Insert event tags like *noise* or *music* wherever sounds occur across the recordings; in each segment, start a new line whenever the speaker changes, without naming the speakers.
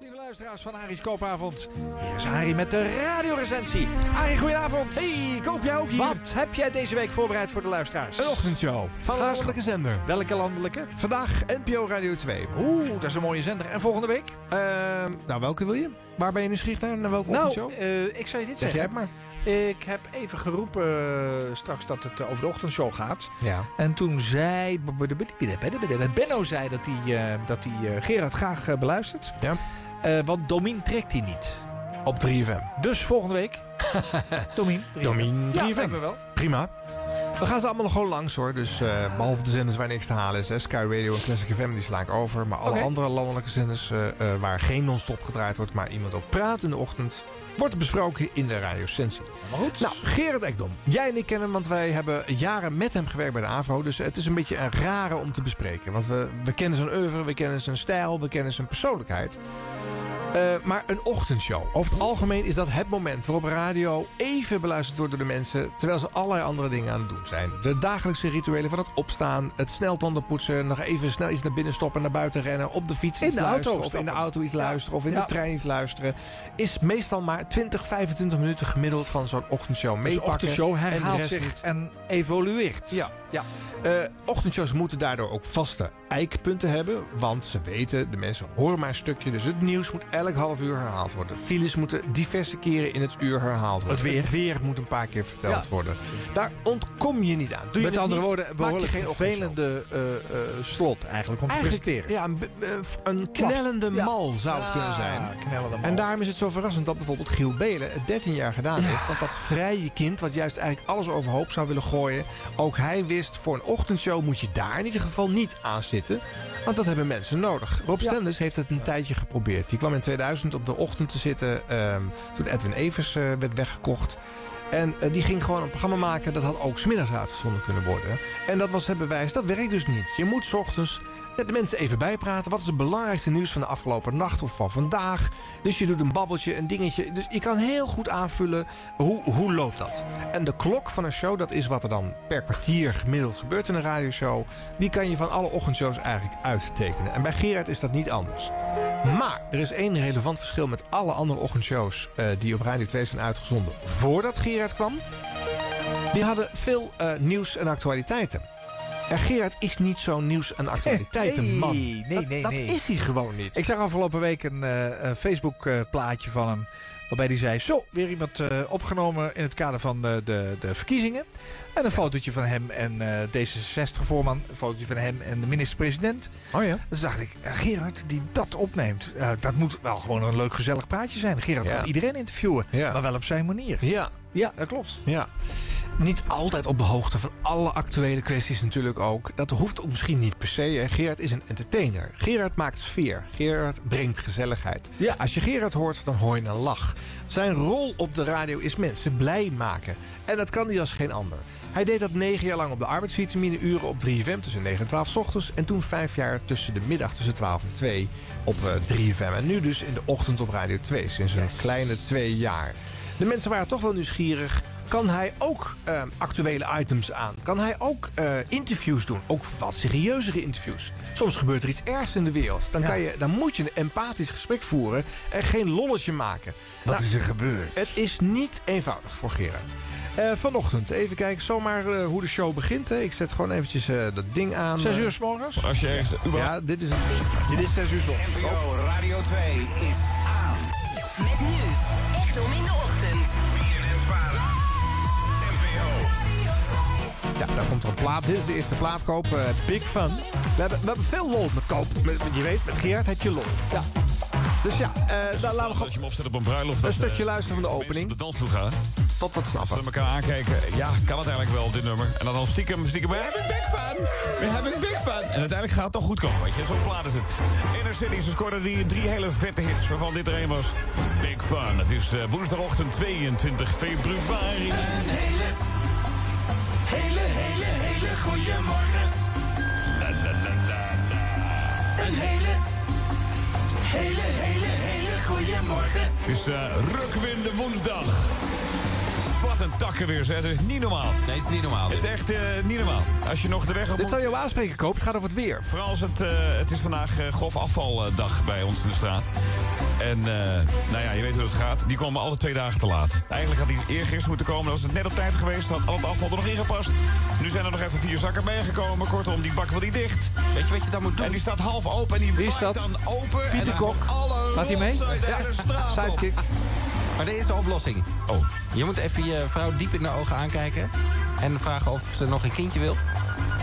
Lieve luisteraars van Aries Koopavond, hier is Arie met de radiorecensie. Arie, goedenavond.
Hey, koop jij ook hier?
Wat heb jij deze week voorbereid voor de luisteraars?
Een ochtendshow van de
Gaan-
landelijke zender.
Welke landelijke?
Vandaag NPO Radio 2.
Oeh, dat is een mooie zender. En volgende week?
Ehm, nou, welke wil je? Waar ben je nieuwsgierig naar? Naar welke ochtendshow?
Nou, eh, ik zou je dit
zeg
zeggen.
jij het maar.
Ik heb even geroepen eh, straks dat het eh, over de ochtendshow gaat.
Ja.
En toen zei... Benno zei dat hij, eh, dat hij eh, Gerard graag eh, beluistert.
Ja.
Eh, want Domien trekt hij niet.
Op 3FM.
Dus volgende *laughs* week... Domien.
Domien,
Ja,
3FM.
lijkt me wel.
Prima. We gaan ze allemaal nog gewoon langs hoor. Dus eh, behalve de zenders waar niks te halen is. Hè. Sky Radio en Classic FM, die sla ik over. Maar alle
Oké.
andere landelijke zenders eh, eh, waar geen non-stop gedraaid wordt... maar iemand ook praat in de ochtend... wordt besproken in de radiocensie.
Maar goed.
Nou, Gerard Ekdom. Jij en ik kennen hem, want wij hebben jaren met hem gewerkt bij de AVRO. Dus het is een beetje een rare om te bespreken. Want we, we kennen zijn oeuvre, we kennen zijn stijl, we kennen zijn persoonlijkheid. Eh, maar een ochtendshow. Over het algemeen is dat het moment waarop radio even beluisterd wordt door de mensen... terwijl ze allerlei andere dingen aan het doen zijn. De dagelijkse rituelen van het opstaan, het snel tanden poetsen... nog even snel iets naar binnen stoppen, naar buiten rennen... op de fiets
In
iets
de auto
luisteren of in de
stappen.
auto iets luisteren... of in
Ja.
de trein iets luisteren... is meestal maar 20, 25 minuten gemiddeld van zo'n ochtendshow
Dus
meepakken.
ochtendshow
en de
herhaalt
rest
zich
niet.
en evolueert.
Ja.
ja.
Eh, ochtendshows moeten daardoor ook vaste eikpunten hebben. Want ze weten, de mensen horen maar een stukje. Dus het nieuws moet elk half uur herhaald worden. Files moeten diverse keren in het uur herhaald worden.
Het weer.
moet een paar keer verteld
Ja.
worden. Daar ontkom je niet aan. Doe je
Met
het
andere
niet,
woorden,
maak je
behoorlijk
geen
geen
ochtendshow.
vervelende eh, eh, slot eigenlijk om te
Eigenlijk,
presenteren.
ja, een, b- eh, een knellende
Ja.
mal zou het kunnen zijn.
Knellen
En daarom is het zo verrassend dat bijvoorbeeld Giel Belen het 13 jaar gedaan heeft. Want dat vrije kind, wat juist eigenlijk alles overhoop zou willen gooien. Ook hij wist, voor een ochtendshow moet je daar in ieder geval niet aan zitten. Want dat hebben mensen nodig. Rob
Ja.
Stenders heeft het een tijdje geprobeerd. Die kwam in 2000 op de ochtend te zitten ehm, toen Edwin Evers eh, werd weggekocht. En eh, die ging gewoon een programma maken. Dat had ook smiddags uitgezonden kunnen worden. En dat was het bewijs. Dat werkt dus niet. Je moet 's ochtends de mensen even bijpraten. Wat is het belangrijkste nieuws van de afgelopen nacht of van vandaag? Dus je doet een babbeltje, een dingetje. Dus je kan heel goed aanvullen hoe, hoe loopt dat. En de klok van een show, dat is wat er dan per kwartier gemiddeld gebeurt in een radioshow. Die kan je van alle ochtendshows eigenlijk uittekenen. En bij Gerard is dat niet anders. Maar er is één relevant verschil met alle andere ochtendshows eh, die op Radio 2 zijn uitgezonden voordat Gerard kwam. Die hadden veel eh, nieuws en actualiteiten. En Gerard is niet zo'n
*laughs*
nieuws- en actualiteitenman.
Nee, nee,
Dat-
nee,
dat,
nee.
is hij gewoon niet.
Ik zag afgelopen week een Facebook-plaatje van hem. Waarbij hij zei: Zo, weer iemand eh, opgenomen in het kader van de, de, de verkiezingen. En een fotootje van hem en eh, D66-voorman. Een fotootje van hem en de minister-president.
oh ja.
Dus dacht ik: eh, Gerard, die dat opneemt, eh, dat moet wel gewoon een leuk gezellig praatje zijn. Gerard
Ja.
kan iedereen interviewen,
Ja.
maar wel op zijn manier.
Ja,
Ja, dat klopt.
ja. Niet altijd op de hoogte van alle actuele kwesties natuurlijk ook. Dat hoeft ook misschien niet per se. hè. Gerard is een entertainer. Gerard maakt sfeer. Gerard brengt gezelligheid.
Ja.
Als je Gerard hoort, dan hoor je een lach. Zijn rol op de radio is mensen blij maken. En dat kan hij als geen ander. Hij deed dat negen jaar lang op de arbeidsvitamine uren op 3FM tussen 9 en 12 's ochtends. En toen vijf jaar tussen de middag tussen 12 en 2 op eh, 3FM. En nu dus in de ochtend op Radio 2 sinds een
Yes.
kleine twee jaar. De mensen waren toch wel nieuwsgierig. Kan hij ook eh, actuele items aan? Kan hij ook eh, interviews doen? Ook wat serieuzere interviews. Soms gebeurt er iets ergs in de wereld. Dan,
Ja.
kan je, dan moet je een empathisch gesprek voeren en geen lolletje maken.
Wat
Nou,
is er gebeurd?
het is niet eenvoudig voor Gerard. Eh, vanochtend, even kijken, zomaar eh, hoe de show begint. Hè. Ik zet gewoon eventjes eh, dat ding aan.
Zes
eh.
uur s morgens?
Als je ergens
Ja,
überhaupt
dit is, dit is 6 uur zon.
NPO Radio 2 is aan.
Met nu. Echt om in de ochtend.
Bieren en varen. NPO.
Ja, daar komt er een plaat. Dit is de eerste plaatkoop. eh, Big Fun. We hebben, we hebben veel lol met koop. Met, met- je weet, met Gerard heb je lol. Ja. Dus ja, eh, nou, laten we
dat
gewoon
je hem opzet op een bruiloft.
een
dat,
stukje
eh,
luisteren van de
mensen
opening.
op de dansvloer gaan.
Tot wat snappen.
Dat we elkaar aankijken. Ja, kan het eigenlijk wel, dit nummer. En dan al stiekem, stiekem. We hebben big fun. We hebben big fun. En uiteindelijk gaat het toch goed komen, weet je. Zo'n plaat is het. Inner City, ze scoorden die drie hele vette hits, waarvan dit er één was. Big fun. Het is eh, woensdagochtend 22 februari.
Een hele, hele, hele, hele goede morgen. La, la, la, la, la. Een hele, hele, hele, hele goede morgen.
Het is eh rukwinde woensdag. Wat een takken weer, zeg. Het is niet normaal.
Nee, het is niet normaal.
Het is echt eh, niet normaal. Als je nog de weg op
Dit
moet...
zal je wel aanspreken, Koop. Het gaat over het weer.
Vooral als het, eh, het is vandaag eh, grof afvaldag bij ons in de straat. En eh, nou ja, je weet hoe het gaat. Die komen alle twee dagen te laat. Eigenlijk had die eergisteren moeten komen. Als het net op tijd geweest had, al het afval er nog ingepast. Nu zijn er nog even vier zakken bijgekomen. Kortom, die bak wil niet dicht.
Weet je wat je dan moet
En
doen?
die staat half open en die
Wie is
blijft
dat?
dan open. en dan
Kok.
komt Alle
Gaat hij mee?
rotzooi de hele straat op.
Sidekick.
Maar dit is de oplossing.
Oh,
Je moet even je vrouw diep in de ogen aankijken. En vragen of ze nog een kindje wil.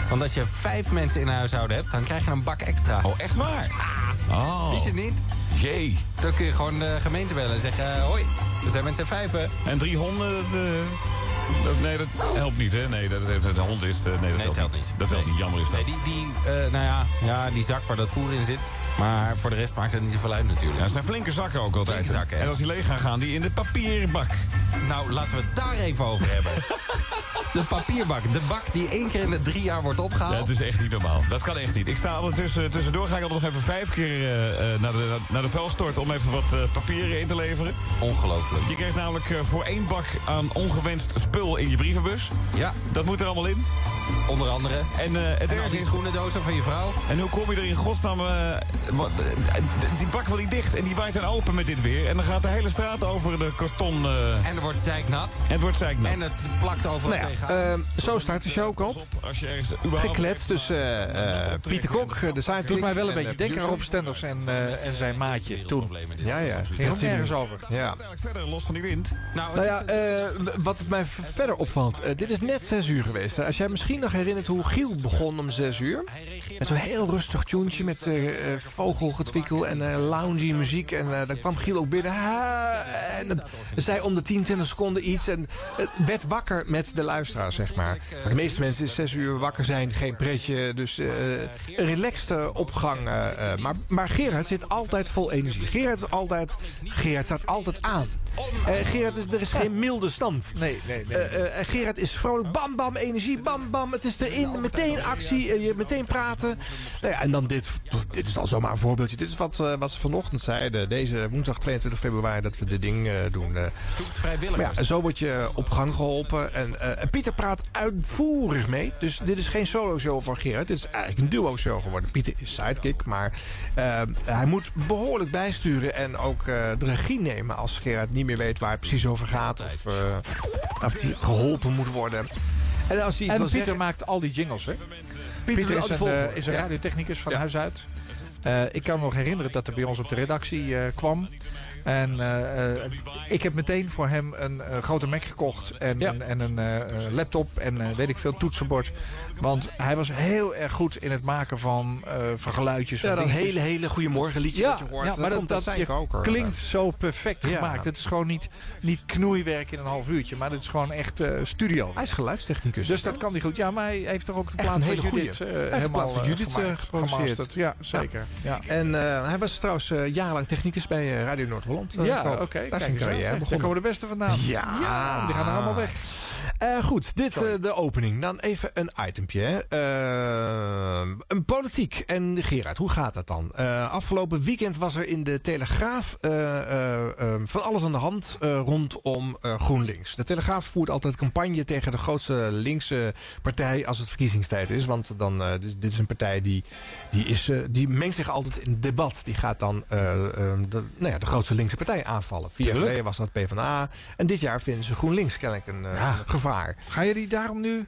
Want als je vijf mensen in huishouden hebt, dan krijg je een bak extra.
oh echt waar? Oh,
Is het niet?
jee.
Dan kun je gewoon de gemeente bellen en zeggen... eh, Hoi, we zijn met z'n vijven.
En drie honden, dat, eh, dat- nee, dat helpt niet, hè? Nee, dat, dat- de hond is... eh, nee, dat
Nee,
helpt
telt
niet.
niet.
Dat helpt
Nee.
niet, jammer is dat.
Nee, die, die, eh, nou ja, ja, die zak waar dat voer in zit. Maar voor de rest maakt het niet zoveel uit natuurlijk.
Ja, het zijn flinke zakken ook altijd.
Flinke zakken, hè?
en als die leeg gaan, gaan die in de papierbak.
Nou, laten we het daar even over hebben. *laughs* De papierbak. De bak die één keer in de drie jaar wordt
Ja, het
opgehaald.
is echt niet normaal. Dat kan echt niet. Ik sta ondertussen, tussendoor ga ik altijd nog even vijf keer eh, eh, naar, de, naar de vuilstort om even wat eh, papieren in te leveren.
Ongelooflijk.
Je krijgt namelijk eh, voor één bak aan ongewenst spul in je brievenbus.
Ja,
Dat moet er allemaal in.
onder andere.
En eh, het
En al
ergste
die
is...
groene dozen van je vrouw.
En hoe kom je er in godsnaam... eh, wat, eh, eh, die bak wil niet dicht en die waait dan open met dit weer. En dan gaat de hele straat over de karton... eh, en
En er wordt zeiknat.
het wordt zeiknat.
En het plakt overal
Nou ja,
tegen.
ehm, zo start de show, Koop.
Pas op als je ergens überhaupt-
Gekletst tussen eh, eh, Pieter Kok, eh, de sidekick.
Doet mij wel een beetje
en,
denken
eh,
aan Rob Stenders en, eh, en zijn maatje toen.
Ja, ja.
Ging ook nergens over.
ja.
Uiteindelijk verder, los van die wind.
nou,
Nou ja, eh, w- wat mij v- verder opvalt. eh, dit is net 6 uur geweest. hè. Als jij misschien nog herinnert hoe Giel begon om 6 uur. Met zo'n heel rustig tjoentje met eh, eh, vogelgetwikkel en eh loungy muziek. En eh, dan kwam Giel ook binnen. Ha, en dan zei om de 10, 20 seconden iets. En het werd wakker met de luisteraar, zeg maar. Maar de meeste mensen is 6 uur wakker zijn, geen pretje. Dus eh, een relaxte opgang. eh, eh, maar, maar Gerard zit altijd vol energie. Gerard, is altijd, Gerard staat altijd aan. Eh, Gerard, is, er is geen milde stand.
Nee, nee, nee.
Eh, eh, en Gerard is vrolijk. Bam, bam, energie. Bam, bam. Het is erin. Meteen actie. eh, je meteen praten. Nou ja, en dan dit. Dit is dan zomaar een voorbeeldje. Dit is wat, eh, wat ze vanochtend zeiden. Deze woensdag 22 februari dat we dit ding eh, doen. eh. maar ja,
vrijwilligers.
zo word je eh, op gang geholpen. En, eh, en Pieter praat uitvoerig mee. Dus dit is geen solo-show van Gerard. Dit is eigenlijk een duo-show geworden. Pieter is sidekick. Maar eh, hij moet behoorlijk bijsturen. En ook eh, de regie nemen als Gerard niet meer weet waar het precies over gaat. Of, eh, of hij geholpen moet worden. En als hij iets
En
wil
Pieter
zeggen,
maakt al die jingles, hè?
Pieter
Pieter
wil
is
altijd
een, eh,
volgen.
is een
Ja.
radiotechnicus van
Ja.
huis uit. Eh, ik kan me nog herinneren dat hij bij ons op de redactie eh, kwam. En eh, eh, ik heb meteen voor hem een eh, grote Mac gekocht. En,
Ja.
en, en een eh, eh, laptop en eh, weet ik veel, toetsenbord. Want hij was heel erg goed in het maken van, eh, van geluidjes.
Ja,
van
dat
dingetjes.
hele, hele goede morgenliedje
Ja,
dat je hoort.
ja, maar dat,
komt
dat,
uit zijn
je
koker.
klinkt zo perfect
Ja.
gemaakt. Het is gewoon niet, niet knoeiwerk in een half uurtje. Maar dit is gewoon echt eh, studio.
Hij is geluidstechnicus.
Dus dat kan hij goed. Ja, maar hij heeft toch ook de
Echt
plaat
een
van
hele goeie.
Judith eh,
heeft de
helemaal
plaat van
eh,
Judith, eh,
gemaakt,
geproduceerd.
gemasterd. Ja, zeker. Ja.
En eh, hij was trouwens eh, jarenlang technicus bij eh, Radio Noord-Holland. eh,
Ja,
Koop.
oké.
Daar
kijk
is zijn
eens aan,
carrière
zeg. Daar
begonnen.
komen de beste vandaan.
Ja.
die gaan er allemaal weg.
Eh, goed, dit eh, de opening. Dan even een itempje. hè. Eh, een politiek. En Gerard, hoe gaat dat dan? Eh, afgelopen weekend was er in de Telegraaf eh, eh, eh, van alles aan de hand eh, rondom eh, GroenLinks. De Telegraaf voert altijd campagne tegen de grootste linkse partij als het verkiezingstijd is. Want dan, eh, dit, dit is een partij die, die, is, eh, die mengt zich altijd in het debat. Die gaat dan eh, eh, de, nou ja, de grootste linkse partij aanvallen. Vier jaar
Tuurlijk.
geleden was dat PvdA. En dit jaar vinden ze GroenLinks kennelijk een eh,
Ja.
gevaar.
Ga je die daarom nu...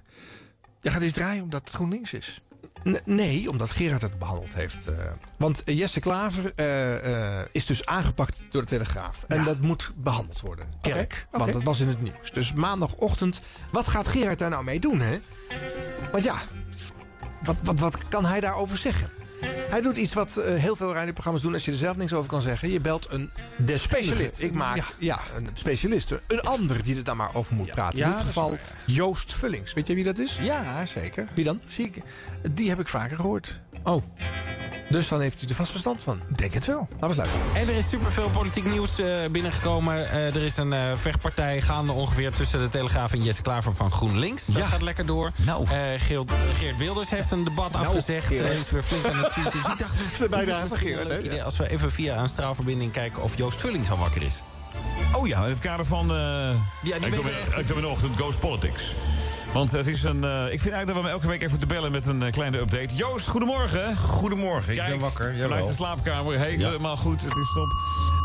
Je gaat eens draaien omdat het GroenLinks is.
N- nee, omdat Gerard het behandeld heeft. eh. want eh, Jesse Klaver eh, eh, is dus aangepakt door de Telegraaf. En dat moet behandeld worden. Kerk. Want
oké.
dat was in het nieuws. Dus maandagochtend. Wat gaat Gerard daar nou mee doen, hè? Want ja, wat, wat, wat kan hij daarover zeggen? Hij doet iets wat eh, heel veel radioprogramma's doen als je er zelf niks over kan zeggen. Je belt een deskundige.
Specialist.
Ik maak ja.
Ja.
een specialist. Een ander die er dan maar over moet praten.
ja,
in dit
dat is
geval
waar,
Joost Vullings. Weet je wie dat is?
Ja, zeker.
Wie dan?
Zie ik, die heb ik vaker gehoord.
Oh, dus dan heeft u er vast verstand van.
Denk het wel.
Laten we eens luisteren.
En er is superveel politiek nieuws eh, binnengekomen. Eh, er is een eh, vechtpartij gaande ongeveer tussen de Telegraaf en Jesse Klaver van GroenLinks. Dat gaat lekker door.
Nou.
Eh, Geert, Geert Wilders heeft een debat afgezegd. Hij is weer flink aan het tweeten. Dus ik dacht, dit is
bijdrage van
misschien wel
Geert,
een
hè?
leuk idee Als we even via een straalverbinding kijken of Joost Vullings al wakker is.
Oh ja, in het kader van... eh,
ben
ik,
je
doe
echt.
mijn, ik doe mijn ochtend Ghost Politics. Want het is een... eh, ik vind eigenlijk dat we hem elke week even te bellen met een eh, kleine update. Joost, goedemorgen.
Goedemorgen, ik
Kijk,
ben wakker.
Vanuit
Jawel.
de slaapkamer. Hey, Helemaal goed, het is top. Eh,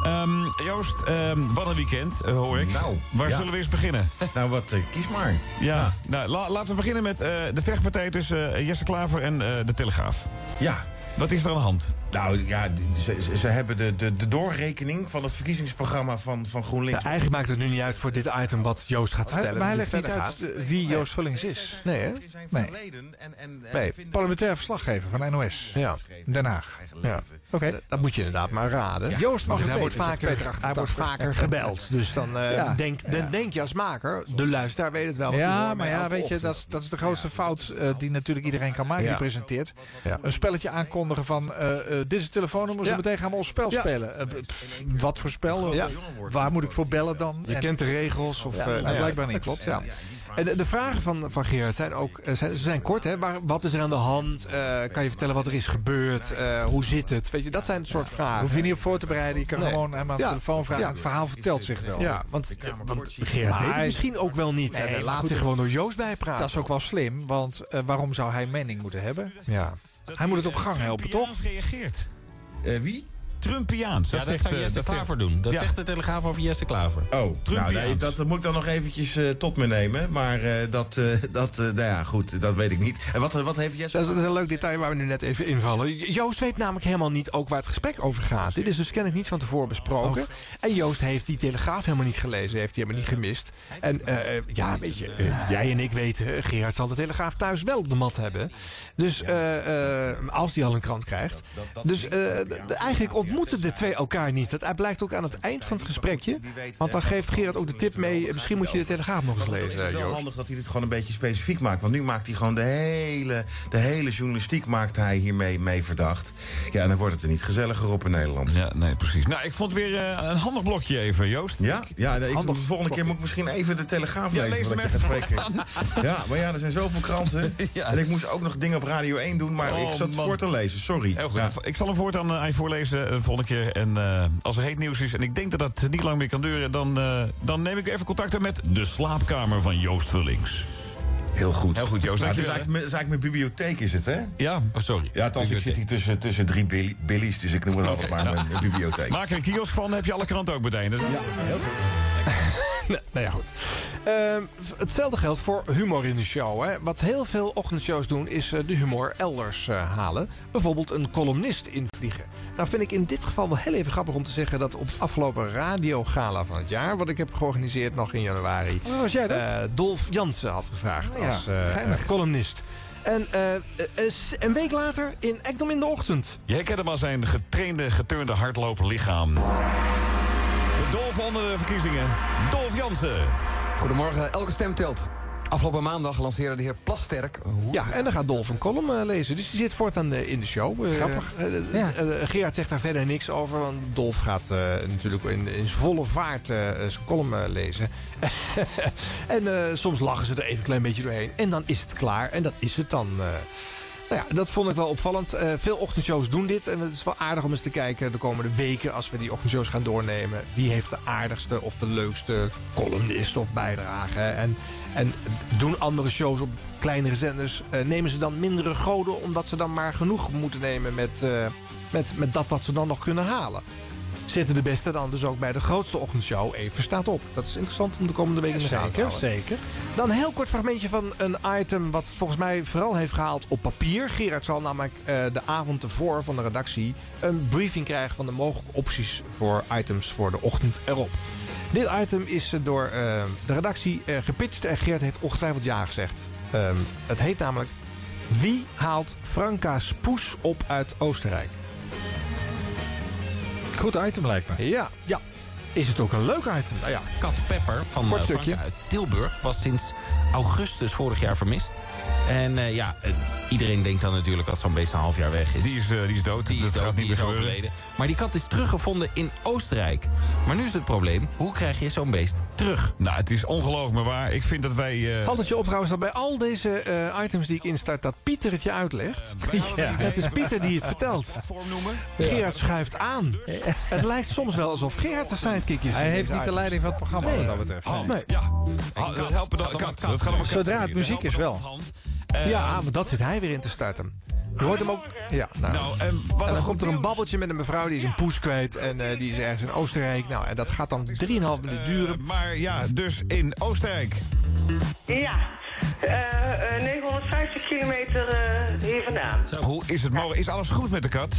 Ehm, Joost, ehm, wat een weekend, eh, hoor ik.
Nou,
Waar
ja.
zullen we eens beginnen?
Nou, wat, eh, kies maar.
Ja, Nou, la- laten we beginnen met eh, de vechtpartij tussen eh, Jesse Klaver en eh, de Telegraaf.
Ja.
Wat is er aan de hand?
Nou ja, d- ze, ze- ze hebben de, de, de doorrekening van het verkiezingsprogramma van, van GroenLinks.
Nou, eigenlijk maakt het nu niet uit voor dit item wat Joost gaat
Hij-
vertellen.
maar hij
hoe
legt
het
niet
verder
uit
gaat.
eh, wie Joost Vullings is.
Nee, hè?
In zijn
Nee.
verleden en, en, en
Nee.
vinden-
Parlementair verslaggever van NOS.
Ja.
Den Haag.
eigen
Ja.
leven.
Oké.
Dat, dat moet je inderdaad maar raden.
Ja. Joost mag
Dus
het
hij, wordt
weten, zegt Peter
vaker, hij wordt vaker *laughs* gebeld. Dus dan eh
Ja.
denk, dan denk je als maker, de luisteraar weet het wel. want die
Ja,
horen
maar
mij
ja,
elke
weet je,
ochtend.
dat is, dat is de grootste fout eh, die natuurlijk iedereen kan maken
Ja.
die presenteert.
Ja.
Een spelletje aankondigen van eh, eh, dit is het telefoonnummer, zo
Ja.
meteen gaan we ons spel
Ja.
spelen. Eh, pff, wat voor spel?
Ja.
Waar moet ik voor bellen dan?
Je
En-
kent de regels. Of,
Ja,
eh,
nou,
nou ja,
blijkbaar
dat
niet.
Klopt, ja. En de, de vragen van, van Gerard zijn ook eh, zijn, ze zijn kort. Hè? Waar, wat is er aan de hand? Eh, kan je vertellen wat er is gebeurd? Eh, hoe zit het? Weet je, dat zijn het soort vragen.
Hoef je niet op voor te bereiden. Je kan
Nee.
gewoon hem aan de
Ja.
telefoon vragen.
Ja.
Het verhaal vertelt zich wel.
Ja, want, want Gerard weet het
Maar-
misschien ook wel niet. en hij
maar
laat
goed,
zich gewoon door Joost bijpraten.
Dat is ook wel slim, want eh, waarom zou hij mening moeten hebben?
Ja.
Hij moet het op gang helpen, toch?
Trumpiaans reageert.
Eh, wie?
Trumpiaans.
Ja,
Dat
dat
zegt,
zou
eh,
Jesse
dat zegt-
Klaver doen. Dat
Ja.
zegt de Telegraaf over Jesse Klaver.
Oh, nou,
Trumpiaans.
nee, dat, moet ik dan nog eventjes eh, tot me nemen. Maar eh, dat, eh, *laughs* dat eh, nou ja, goed, dat weet ik niet. En wat, eh, wat heeft Jesse...
Dat is, dat is een leuk detail waar we nu net even invallen. J- Joost weet namelijk helemaal niet ook waar het gesprek over gaat. Dit is dus kennelijk niet van tevoren besproken. En Joost heeft die telegraaf helemaal niet gelezen. Heeft hij helemaal niet gemist. En eh, eh, ja, weet je, eh, jij en ik weten... eh, Gerard zal de telegraaf thuis wel op de mat hebben. Dus eh, eh, als hij al een krant krijgt. Dus eh, d- d- eigenlijk ontmoeten de twee elkaar niet. Dat blijkt ook aan het eind van het gesprekje. Want dan geeft Gerard ook de tip mee... eh, misschien moet je de telegraaf nog eens
Want dan is
lezen,
het
eh,
wel
Joost.
handig dat hij dit gewoon een beetje specifiek maakt. Want nu maakt hij gewoon de hele, de hele journalistiek maakt hij hiermee mee verdacht. Ja, en dan wordt het er niet gezelliger op in Nederland.
Ja, nee, precies. Nou, ik vond weer eh, een handig blokje even, Joost.
Ja, ja nee, ik,
Handig.
de volgende keer moet ik misschien even de Telegraaf
Ja,
lezen.
lees hem
voordat je gaat spreken. *laughs* Ja, maar ja, er zijn zoveel kranten. En ik moest ook nog dingen op Radio 1 doen, maar
Oh,
ik zat
man.
voor te lezen. Sorry.
Heel goed.
Ja.
Ik zal hem voortaan eh, aan je voorlezen eh, volgende keer. En eh, als er heet nieuws is en ik denk dat dat niet lang meer kan duren... dan, eh, dan neem ik even contact op met de slaapkamer van Joost Vullings.
Heel goed.
Heel goed, Joost.
Nou, het is
Dankjewel,
eigenlijk, mijn- het is eigenlijk mijn bibliotheek, is het, hè?
Ja,
Oh, sorry.
Ja, althans, ik zit hier tussen, tussen drie billy- billies, dus ik noem het altijd maar mijn mijn bibliotheek.
maak er een kiosk van, dan heb je alle kranten ook meteen. Dus-
*laughs* Nou, nou ja, goed. Ehm, v- hetzelfde geldt voor humor in de show. Hè. Wat heel veel ochtendshows doen, is eh, de humor elders eh, halen. Bijvoorbeeld een columnist invliegen. Nou vind ik in dit geval wel heel even grappig om te zeggen... dat op het afgelopen radiogala van het jaar... wat ik heb georganiseerd nog in januari...
Oh, was jij dat?
eh, Dolf Jansen had gevraagd
Oh ja,
als eh,
geinig.
columnist. En eh, eh, eh, s- een week later in Ekdom in de ochtend.
Jij kent hem als zijn getrainde, geturnde hardlooplichaam. De dolf onder de verkiezingen. Dolf Jansen.
Goedemorgen, elke stem telt. Afgelopen maandag lanceerde de heer Plasterk... Hoe...
Ja, en dan gaat Dolf een column eh, lezen. Dus die zit voortaan eh, in de show. Eh,
Grappig.
eh, eh, eh, Gerard zegt daar verder niks over. Want Dolf gaat eh, natuurlijk in, in volle vaart eh, zijn column eh, lezen. *laughs* en eh, soms lachen ze er even een klein beetje doorheen. En dan is het klaar. En dat is het dan. eh. nou ja, dat vond ik wel opvallend. Eh, veel ochtendshows doen dit. En het is wel aardig om eens te kijken de komende weken... als we die ochtendshows gaan doornemen. Wie heeft de aardigste of de leukste columnist of bijdrage? En, en doen andere shows op kleinere zenders... eh, nemen ze dan mindere goden... omdat ze dan maar genoeg moeten nemen met, eh, met, met dat wat ze dan nog kunnen halen? Zitten de beste dan dus ook bij de grootste ochtendshow even staat op? Dat is interessant om de komende weken in de gaten te houden.
zeker.
Dan een heel kort fragmentje van een item wat volgens mij vooral heeft gehaald op papier. Gerard zal namelijk eh, de avond ervoor van de redactie een briefing krijgen van de mogelijke opties voor items voor de ochtend erop. Dit item is eh, door eh, de redactie eh, gepitcht en Gerard heeft ongetwijfeld ja gezegd. Ehm, het heet namelijk Wie haalt Franka's poes op uit Oostenrijk?
Goed item lijkt me.
Ja, ja. Is het ook een leuk item? Nou ja,
Kat Pepper van
Kort
eh,
stukje.
Frankrijk uit Tilburg was sinds augustus vorig jaar vermist. En eh, ja, eh, iedereen denkt dan natuurlijk als zo'n beest een half jaar weg is.
Die is, eh, die is dood.
Die is
Dat gaat niet
dood, die
meer
is
gebeuren.
overleden. Maar die kat is teruggevonden in Oostenrijk. Maar nu is het probleem, hoe krijg je zo'n beest terug?
Nou, het is ongelooflijk maar waar. Ik vind dat wij... eh,
Valt het je op trouwens dat bij al deze eh, items die ik instart... dat Pieter het je uitlegt?
Ja.
Het is Pieter die het vertelt.
vorm noemen.
Gerard schuift aan. Het lijkt soms wel alsof Gerard de sidekick is.
Hij
in
heeft
deze
niet de
items.
leiding van het programma
Nee.
wat dat betreft.
Hand.
Nee.
Ja.
En
Ha-
kat.
Ah, helpen dan
Kat,
kat.
kat.
Dat gaat om een kat.
Zodra het muziek is wel.
Helpen dan met hand. Eh,
Ja, want dat zit hij weer in te starten. Je hoort hem ook. Ja, nou.
Nou, en wat
en dan
een goed
komt er een
nieuws.
babbeltje met een mevrouw die is een poes kwijt. En eh, die is ergens in Oostenrijk. Nou, en dat gaat dan 3,5 minuten duren.
Eh, maar ja, dus in Oostenrijk.
Ja, eh, eh, 950 kilometer eh, hier vandaan.
Hoe is het mogelijk? Is alles goed met de kat?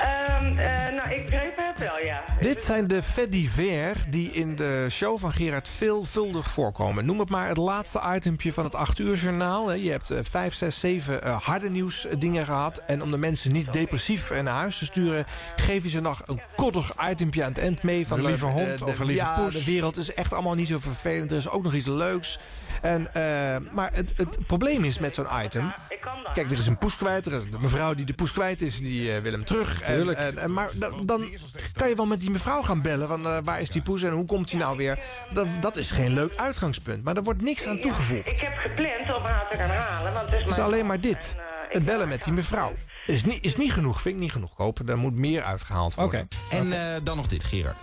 Ehm, eh, nou, ik begreep het wel, ja.
Dit zijn de fait divers die in de show van Gerard veelvuldig voorkomen. Noem het maar het laatste itempje van het 8 uur journaal. hè. Je hebt eh, vijf, zes, zeven eh, harde nieuwsdingen gehad. En om de mensen niet depressief eh, naar huis te sturen... geef je ze nog een koddig itempje aan het eind mee. Van,
Een lieve
eh,
hond
eh, de-
of een lieve
ja,
poes.
de wereld is echt allemaal niet zo vervelend. Er is ook nog iets leuks. En, eh, maar het, het probleem is met zo'n item...
Ik kan dat.
Kijk, er is een poes kwijt. Er is een mevrouw die de poes kwijt is, die eh, wil hem terug. En, en, en- maar da- dan kan je wel met die mevrouw gaan bellen. Van, eh, waar is die poes en hoe komt hij nou weer? Dat, dat is geen leuk uitgangspunt. Maar daar wordt niks aan toegevoegd.
Ik heb gepland om haar te gaan halen, want het is,
Het is
mijn-
alleen maar dit.
en, eh, ik
Het bellen
kan-
met die mevrouw. Is niet, is niet genoeg, vind ik niet genoeg. Kopen, daar moet meer uitgehaald worden.
Oké.
En eh, dan nog dit, Gerard.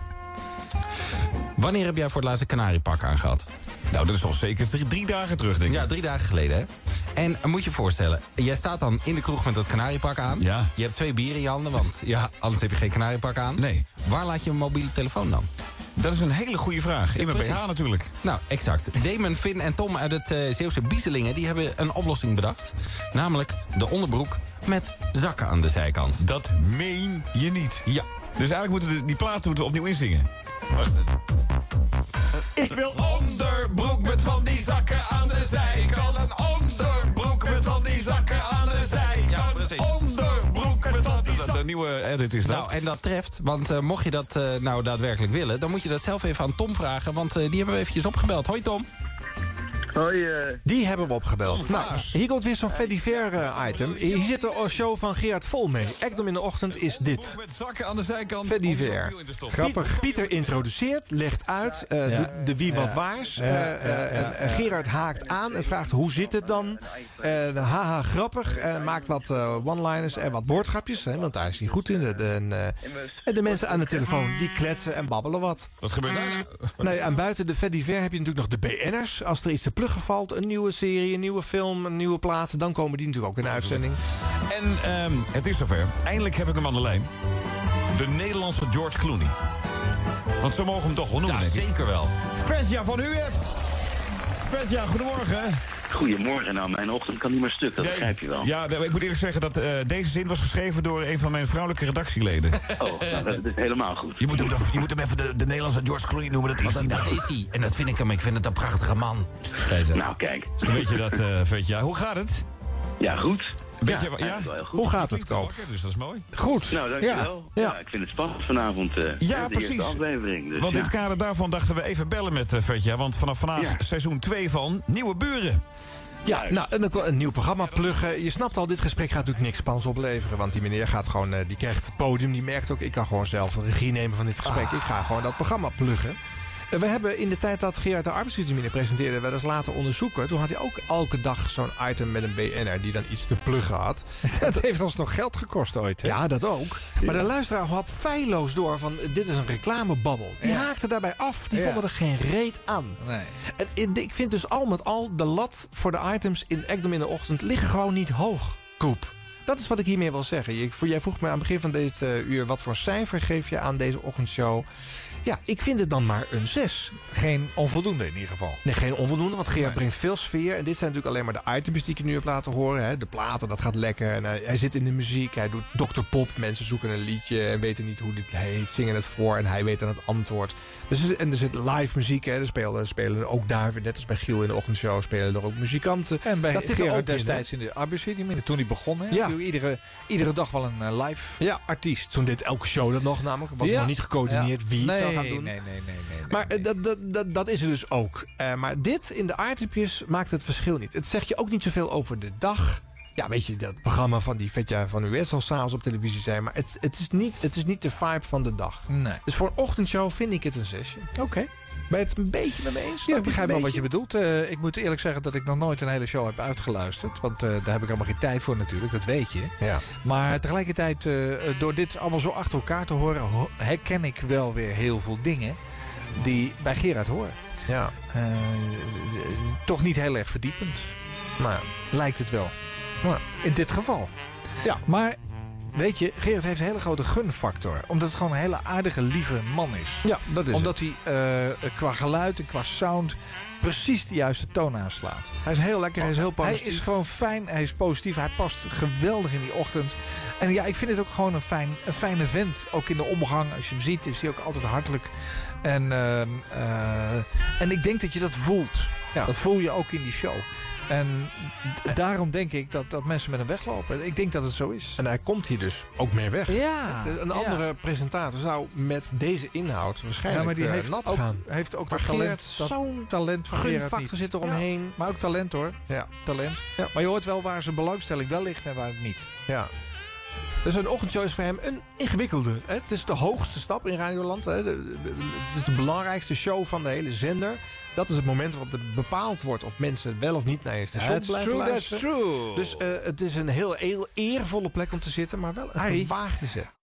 Wanneer heb jij voor het laatst een kanariepak aangehad?
Nou, dat is toch zeker drie, drie dagen terug, denk ik.
Ja, drie dagen geleden, hè? En eh, moet je je voorstellen, jij staat dan in de kroeg met dat kanariepak aan.
Ja.
Je hebt twee bieren in je handen, want ja, anders heb je geen kanariepak aan.
Nee.
Waar laat je een mobiele telefoon dan?
Dat is een hele goede vraag. In mijn
precies.
BH natuurlijk.
Nou, exact. Damon, Finn en Tom uit het eh, Zeeuwse Biezelingen... die hebben een oplossing bedacht. Namelijk de onderbroek met zakken aan de zijkant.
Dat meen je niet.
Ja.
Dus eigenlijk moeten de- die platen moeten we opnieuw inzingen. Wacht. Ik wil onderbroek met van die zakken aan de zijkant. Een onderbroek met van die zakken aan de zijkant. Ja, Onderbroek met van die zakken. Dat is een nieuwe edit is dat.
Nou, en dat treft, want eh, mocht je dat eh, nou daadwerkelijk willen... dan moet je dat zelf even aan Tom vragen, want eh, die hebben we eventjes opgebeld. Hoi Tom.
Die hebben we opgebeld. Nou, hier komt weer zo'n fait divers eh, item. Hier zit de show van Gerard Vol mee. Actum in de ochtend is dit.
met zakken aan de zijkant.
Fait
om
divers.
de mobiel in te stoppen.
Pieter, Pieter introduceert, legt uit eh,
Ja.
de, de wie wat waars. eh, eh, en eh, Gerard haakt aan en vraagt hoe zit het dan? En haha, grappig. En maakt wat eh, one-liners en wat woordgrapjes. Hè, want daar is hij goed in. En, eh, en de mensen aan de telefoon die kletsen en babbelen wat.
Wat gebeurt daar?
Nee, en buiten de Fediver heb je natuurlijk nog de BN'ers. Als er iets te pluggen valt, een nieuwe serie, een nieuwe film, een nieuwe plaat... dan komen die natuurlijk ook in de uitzending.
En ehm, het is zover. Eindelijk heb ik hem aan de lijn. De Nederlandse George Clooney. Want zo mogen we hem toch Nou, wel noemen, denk ik.
zeker wel.
Fredja van Huert. Fredja, goedemorgen.
Goedemorgen nou, mijn ochtend kan niet meer stuk, dat
Nee,
begrijp je wel.
Ja, nee, ik moet eerlijk zeggen dat eh, deze zin was geschreven door een van mijn vrouwelijke *laughs* redactieleden.
Oh, nou, dat is helemaal goed.
je, moet hem, dan- je moet hem even de, de Nederlandse George Clooney noemen, dat is hij nou.
is hij? En dat vind ik hem. Ik vind het een prachtige man, zei ze.
Nou, kijk.
Weet je dat, eh Fredja? Hoe gaat het?
Ja, goed.
Beetje, ja?
ja, eigenlijk wel heel goed.
Hoe gaat het,
Klinkt wel
Koop?
wakker, Dus dat is mooi.
Goed.
Nou, dankjewel.
Ja,
Ja,
ja.
ik vind het spannend vanavond. eh, de eerste
precies.
aflevering. Dus,
Want in
ja.
het kader daarvan dachten we even bellen met eh, Fredja. Want vanaf vandaag
Ja.
seizoen 2 van Nieuwe Buren.
Ja, nou, en dan kan een nieuw programma pluggen. Je snapt al, dit gesprek gaat natuurlijk niks spannends opleveren. Want die meneer gaat gewoon, eh, die krijgt het podium. Die merkt ook, ik kan gewoon zelf de regie nemen van dit gesprek. Ik ga gewoon dat programma pluggen. En We hebben in de tijd dat Gerard de arbeidsvitamine presenteerde... wel eens laten onderzoeken. Toen had hij ook elke dag zo'n item met een BN'er... die dan iets te pluggen had.
Het heeft ons nog geld gekost ooit. hè?
Ja, dat ook. Maar de luisteraar had feilloos door van... dit is een reclamebabbel. Die haakte daarbij af. Die
Ja.
vonden er geen reet aan.
Nee.
En in- ik vind dus al met al de lat voor de items in Ekdom in de ochtend liggen gewoon niet hoog. Koep. Dat is wat ik hiermee wil zeggen. Je- voor- jij vroeg me aan het begin van dit eh, uur... wat voor cijfer geef je aan deze ochtendshow? Ja, ik vind het dan maar een 6.
Geen onvoldoende in ieder geval.
Nee, geen onvoldoende, want Gerard
Nee.
brengt veel sfeer. En dit zijn natuurlijk alleen maar de items die ik je nu heb laten horen. Hè. De platen, dat gaat lekker. En eh, hij, hij zit in de muziek, hij doet Dr. Pop. Mensen zoeken een liedje en weten niet hoe dit heet. Zingen het voor en hij weet dan het antwoord. Dus, er- en er zit live muziek. Hè. Er spelen, spelen ook daar, weer, net als bij Giel in de ochtendshow, spelen er ook muzikanten.
En bij
dat zit er
Gerard
ook in, hè.
destijds in, de arbeidsvitamine, toen hij begon, hè,
Ja.
had hij iedere, iedere dag wel een eh, live
Ja.
artiest.
Toen deed elke show dat nog namelijk. Was
Ja.
nog niet gecoördineerd wie het
nee,
zou gaan doen.
Nee, nee, nee. nee, nee,
Maar
nee.
eh, dat, dat, dat, dat is er dus ook. Eh, maar dit in de aardrupjes maakt het verschil niet. Het zegt je ook niet zoveel over de dag. Ja, weet je, dat programma van die Vetja van US zal s'avonds op televisie zijn. Maar het, het, is niet, het is niet de vibe van de dag.
Nee.
Dus voor een ochtendshow vind ik het een zesje.
Oké.
Ben je het een beetje met me eens?
Ja, ik
Snap je het
begrijp wel
een
wat je
beetje?
bedoelt. Eh, ik moet eerlijk zeggen dat ik nog nooit een hele show heb uitgeluisterd. Want eh, daar heb ik helemaal geen tijd voor natuurlijk, dat weet je.
Ja.
Maar tegelijkertijd, eh, eh, door dit allemaal zo achter elkaar te horen, ho- herken ik wel weer heel veel dingen die bij Gerard horen.
ja,
Eh, toch niet heel erg verdiepend,
maar
lijkt het wel.
Ja.
In dit geval.
Ja.
Maar weet je, Gerard heeft een hele grote gunfactor. Omdat het gewoon een hele aardige, lieve man is.
Ja, dat is
Omdat hij eh, qua geluid en qua sound precies de juiste toon aanslaat.
Hij is heel lekker, hij is heel positief.
Hij is gewoon fijn, hij is positief. Hij past geweldig in die ochtend. En ja, ik vind het ook gewoon een, fijn, een fijne vent. Ook in de omgang, als je hem ziet, is hij ook altijd hartelijk. En, ehm, eh, en ik denk dat je dat voelt. Dat voel je ook in die show. En d- daarom denk ik dat, dat mensen met hem weglopen. Ik denk dat het zo is.
En hij komt hier dus ook meer weg.
Ja.
Een andere presentator zou met deze inhoud waarschijnlijk
Ja, maar die
eh,
heeft
nat
ook,
gaan.
heeft ook
Maar
dat talent.
Gerard,
dat
zo'n
talent van Gerard
gunfactor
niet.
zit er omheen.
Ja, maar ook talent hoor.
Ja.
Talent. Maar je hoort wel waar zijn belangstelling wel ligt en waar het niet.
Ja. Dus een ochtendshow is voor hem een ingewikkelde. Hè? Het is de hoogste stap in Radioland. Hè? De- de- de- Het is de belangrijkste show van de hele zender. Dat is het moment waarop er bepaald wordt of mensen wel of niet naar je station
That's
blijven
true, that's
luisteren.
true.
Dus eh, het is een heel, heel eervolle plek om te zitten, maar wel een
Harry.
gewaagde zet.